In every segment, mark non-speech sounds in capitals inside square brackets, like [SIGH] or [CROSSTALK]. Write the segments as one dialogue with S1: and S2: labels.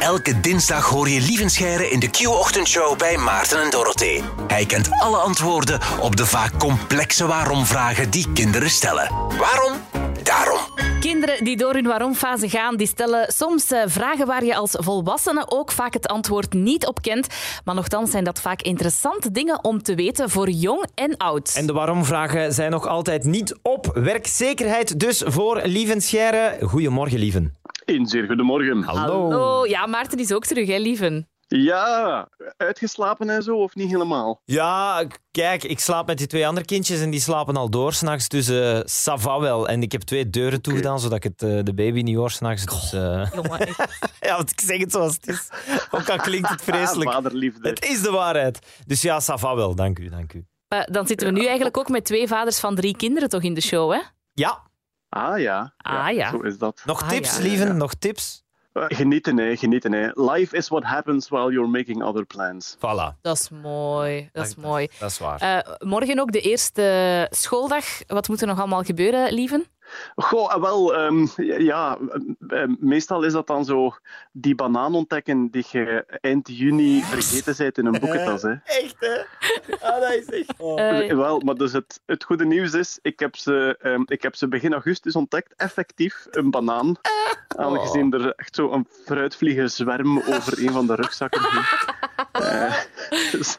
S1: Elke dinsdag hoor je Lievenscheiren in de Q-ochtendshow bij Maarten en Dorothee. Hij kent alle antwoorden op de vaak complexe waarom-vragen die kinderen stellen. Waarom? Daarom.
S2: Kinderen die door hun waarom-fase gaan, die stellen soms eh, vragen waar je als volwassene ook vaak het antwoord niet op kent. Maar nochtans zijn dat vaak interessante dingen om te weten voor jong en oud.
S3: En de waarom-vragen zijn nog altijd niet op. Werkzekerheid dus voor Lieven Scheire. Goedemorgen, Lieven.
S4: Een zeer goedemorgen.
S2: Hallo. Ja, Maarten is ook terug, hè, lieven?
S4: Ja, uitgeslapen en zo, of niet helemaal?
S3: Ja, k- kijk, ik slaap met die twee andere kindjes en die slapen al door s'nachts. Dus eh sava wel. En ik heb twee deuren toegedaan, zodat ik het, eh, de baby niet hoor s'nachts. Dus, eh, [LAUGHS]
S2: Jongen, [LAUGHS] echt.
S3: ja, want ik zeg het zoals het is. Ook al klinkt [LAUGHS] het
S4: Ah,
S3: vreselijk.
S4: vaderliefde.
S3: Het is de waarheid. Dus ja, sava wel. Dank u, dank u.
S2: Maar Eh, dan zitten we nu eigenlijk ook met twee vaders van drie kinderen toch in de show, hè?
S3: Ja,
S4: Ah ja.
S2: Ah, ja.
S4: Zo is dat.
S3: nog
S2: Ah,
S3: tips,
S2: ja.
S3: Lieven?
S4: Ja.
S3: Nog tips?
S4: Eh, Genieten, hè, genieten. Hè. Life is what happens while you're making other plans.
S3: Voilà.
S2: Dat is mooi. Dat is mooi.
S3: Dat is waar.
S2: Eh, morgen ook de eerste schooldag. Wat moet er nog allemaal gebeuren, lieven?
S4: Goh, eh, wel, ehm, ja, eh, eh, meestal is dat dan zo die banaan ontdekken die je eind juni vergeten bent in een boekentas. Hè.
S3: Echt, hè? Ah, dat is echt...
S2: Eh,
S4: Wel, maar dus het, het goede nieuws is, ik heb, ze, ehm, ik heb ze begin augustus ontdekt, effectief, een banaan. Aangezien er echt zo een fruitvliegen zwerm over een van de rugzakken ging. Eh, dus,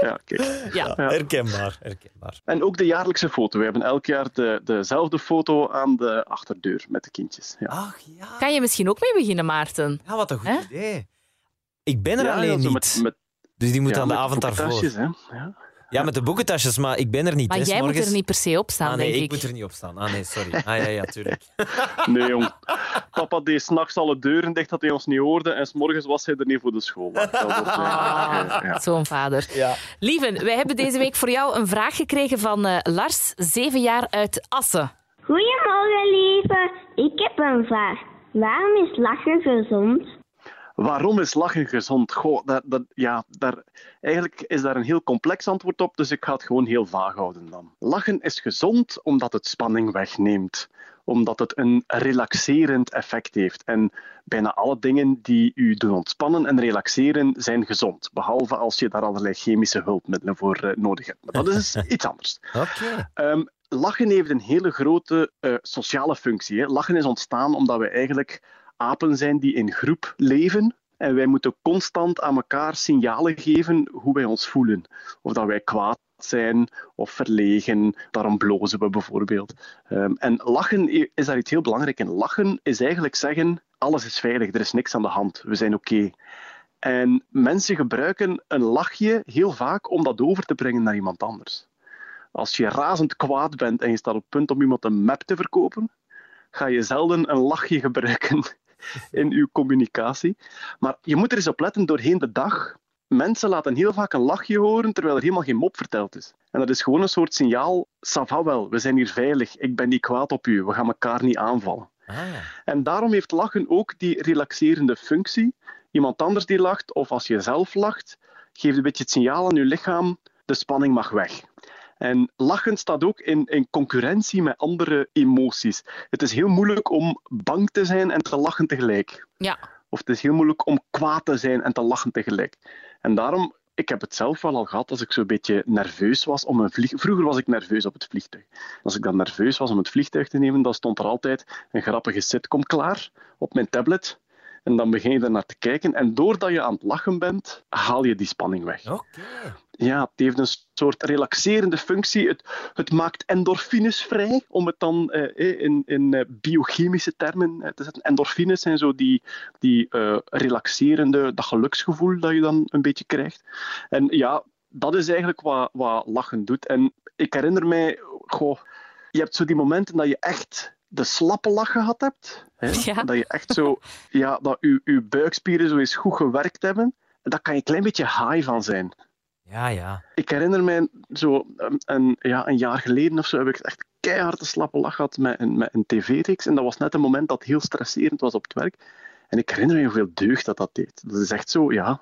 S4: ja, kijk.
S2: ja.
S3: Herkenbaar, herkenbaar.
S4: En ook de jaarlijkse foto. We hebben elk jaar de, dezelfde foto aan de achterdeur met de kindjes. Ja.
S3: Ach, ja.
S2: Kan je misschien ook mee beginnen, Maarten?
S3: Ja, wat een goed
S2: Hè?
S3: idee. Ik ben er
S4: Ja,
S3: alleen
S4: ja, zo
S3: niet.
S4: met, met,
S3: Dus die moet
S4: ja,
S3: aan de
S4: met
S3: avond daarvoor.
S4: boekentasjes, hè. Ja.
S3: Ja, met de boekentasjes, maar ik ben er niet.
S2: Maar
S3: hè,
S2: jij moet
S3: s'morgens.
S2: er niet per se op staan,
S3: Ah, nee,
S2: denk
S3: ik.
S2: ik.
S3: moet er niet op staan. Ah, nee, sorry. Ah, ja, ja, tuurlijk.
S4: Nee, jong. Papa deed s'nachts alle deuren dicht dat hij ons niet hoorde. En s'morgens was hij er niet voor de school. Dat wordt,
S2: [LAUGHS]
S4: eh,
S2: Ah,
S4: eh, ja.
S2: Zo'n vader.
S3: Ja.
S2: Lieven, wij hebben deze week voor jou een vraag gekregen van eh, Lars, zeven jaar uit Assen.
S5: Goedemorgen, lieve. Ik heb een vraag. Waarom is lachen gezond?
S4: Waarom is lachen gezond? Goh, dat, dat, ja, daar, eigenlijk is daar een heel complex antwoord op, dus ik ga het gewoon heel vaag houden dan. Lachen is gezond omdat het spanning wegneemt, omdat het een relaxerend effect heeft. En bijna alle dingen die u doen ontspannen en relaxeren zijn gezond, behalve als je daar allerlei chemische hulpmiddelen voor eh, nodig hebt. Maar dat is iets anders.
S3: [LAUGHS] Oké.
S4: Ehm, lachen heeft een hele grote eh, sociale functie. Hè. Lachen is ontstaan omdat we eigenlijk apen zijn die in groep leven. En wij moeten constant aan elkaar signalen geven hoe wij ons voelen. Of dat wij kwaad zijn of verlegen. Daarom blozen we bijvoorbeeld. Ehm, en lachen i- is daar iets heel belangrijk in. Lachen is eigenlijk zeggen: alles is veilig, er is niks aan de hand, we zijn oké. En mensen gebruiken een lachje heel vaak om dat over te brengen naar iemand anders. Als je razend kwaad bent en je staat op het punt om iemand een map te verkopen, ga je zelden een lachje gebruiken in uw communicatie. Maar je moet er eens op letten doorheen de dag. Mensen laten heel vaak een lachje horen terwijl er helemaal geen mop verteld is. En dat is gewoon een soort signaal: Sava wel, we zijn hier veilig, ik ben niet kwaad op u, we gaan elkaar niet aanvallen.
S3: Ah, ja.
S4: En daarom heeft lachen ook die relaxerende functie. Iemand anders die lacht, of als je zelf lacht, geeft een beetje het signaal aan je lichaam: de spanning mag weg. En lachen staat ook in, in concurrentie met andere emoties. Het is heel moeilijk om bang te zijn en te lachen tegelijk.
S2: Ja,
S4: Of het is heel moeilijk om kwaad te zijn en te lachen tegelijk. En daarom, ik heb het zelf wel al gehad als ik zo'n beetje nerveus was om een vliegtuig. Vroeger was ik nerveus op het vliegtuig. Als ik dan nerveus was om het vliegtuig te nemen, dan stond er altijd een grappige sitcom klaar op mijn tablet. En dan begin je ernaar te kijken. En doordat je aan het lachen bent, haal je die spanning weg.
S3: Oké.
S4: Ja, het heeft een soort relaxerende functie. Het, het maakt endorfines vrij, om het dan eh, in, in eh, biochemische termen eh, te zetten. Endorfines zijn zo die, die eh, relaxerende, dat geluksgevoel dat je dan een beetje krijgt. En ja, dat is eigenlijk wat, wat lachen doet. En ik herinner mij, goh, je hebt zo die momenten dat je echt de slappe lach gehad hebt. Hè?
S2: Ja.
S4: Dat je echt zo, ja, dat je, je buikspieren zo eens goed gewerkt hebben. Daar kan je een klein beetje high van zijn.
S3: Ja, ja.
S4: Ik herinner mij zo een, een- ja, een jaar geleden of zo heb ik echt keihard een slappe lach gehad met een, met een tv-reeks. En dat was net een moment dat heel stresserend was op het werk. En ik herinner me hoeveel deugd dat dat deed. Dat is echt zo, ja.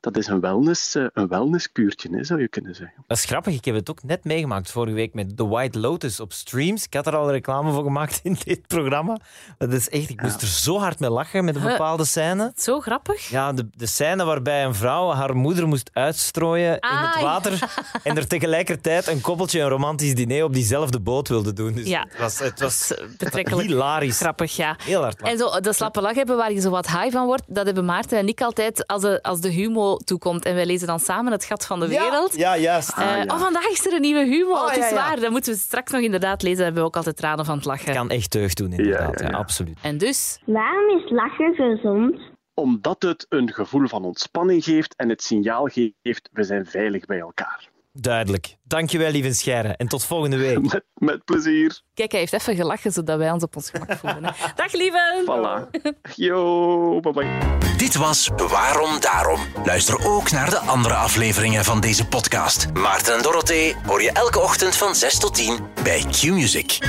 S4: dat is een, wellness, eh, een wellnesskuurtje, hè, zou je kunnen zeggen.
S3: Dat is grappig, ik heb het ook net meegemaakt vorige week met The White Lotus op streams. Ik had er al reclame voor gemaakt [LAUGHS] in dit programma. Dat is echt, ik moest er zo hard mee lachen met een
S2: Huh.
S3: bepaalde scène.
S2: Zo grappig.
S3: Ja, de, de scène waarbij een vrouw haar moeder moest uitstrooien in
S2: Ah,
S3: het water
S2: [LAUGHS]
S3: en er tegelijkertijd een koppeltje een romantisch diner op diezelfde boot wilde doen. Dus
S2: Ja.
S3: het was, het was
S2: Dat is Betrekkelijk
S3: hilarisch.
S2: grappig, ja.
S3: Heel hard lachen.
S2: En zo, de slappe lach hebben waar je zo wat high van wordt, dat hebben Maarten en ik altijd als de, als de humo toekomt. En wij lezen dan samen Het Gat van de Wereld.
S3: Ja, juist.
S2: Eh,
S4: Ah, ja.
S2: Oh, vandaag is er een nieuwe humo.
S3: Ah,
S2: het is
S3: ja, ja.
S2: waar, dat moeten we straks nog inderdaad lezen. Daar hebben we ook altijd tranen van het lachen.
S3: kan echt deugd doen, inderdaad.
S4: ja,
S3: Ja,
S4: ja.
S3: absoluut.
S2: En dus,
S5: Waarom is lachen gezond?
S4: Omdat het een gevoel van ontspanning geeft en het signaal geeft, we zijn veilig bij elkaar.
S3: Duidelijk. Dankjewel, lieve Scheire. En tot volgende week.
S4: Met, met plezier.
S2: kijk, hij heeft even gelachen, zodat wij ons op ons gemak voelen.
S3: [LAUGHS]
S2: hè. Dag, lieven!
S4: Voilà. Yo, bye bye.
S1: Dit was Waarom Daarom. Luister ook naar de andere afleveringen van deze podcast. Maarten en Dorothee hoor je elke ochtend van 6 tot 10 bij Q-Music.